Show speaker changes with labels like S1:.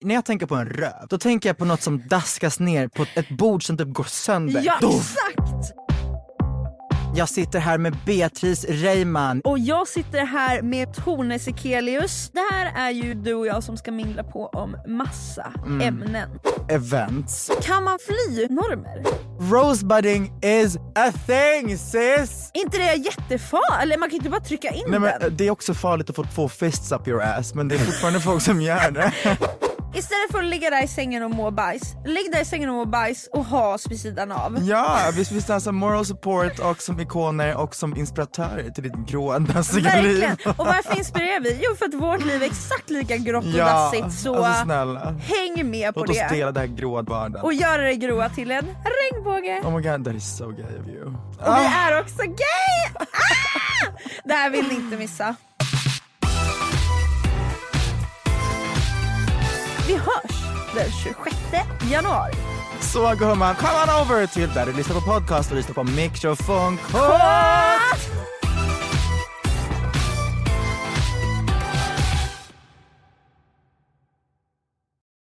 S1: när jag tänker på en röv, då tänker jag på något som daskas ner på ett bord som typ går sönder.
S2: Ja,
S1: Doff!
S2: exakt!
S1: Jag sitter här med Beatrice Reimann.
S2: Och jag sitter här med Tone Sekelius. Det här är ju du och jag som ska mingla på om massa
S1: Mm.
S2: ämnen.
S1: Events.
S2: Kan man fly normer?
S1: Rosebudding is a thing sis!
S2: Är inte det jättefarligt? Eller man kan ju inte bara trycka in
S1: Nej, men,
S2: den.
S1: eh, det är också farligt att få två fists up your ass men det är fortfarande folk som gör det.
S2: Istället för att ligga där i sängen och må bajs, lägg dig i sängen och må bajs och ha oss vid sidan av.
S1: Ja, vi finns där som moral support och som ikoner och som inspiratörer till ditt gråa dassiga liv.
S2: Verkligen! Och varför inspirerar vi? Jo för att vårt liv är exakt lika grått och
S1: Ja,
S2: dassigt så
S1: alltså snälla.
S2: häng med på
S1: Låt oss
S2: det.
S1: dela det här gråa vardagen.
S2: Och göra det gråa till en regnbåge.
S1: Oh my god, that is so gay of you.
S2: Och vi
S1: Ah,
S2: är också gay! Ah! Det här vill ni inte missa. Vi hörs den 26 januari.
S1: så gumman, come on over till där du lyssnar på podcast och lyssnar på Mix Funk.
S2: Puss!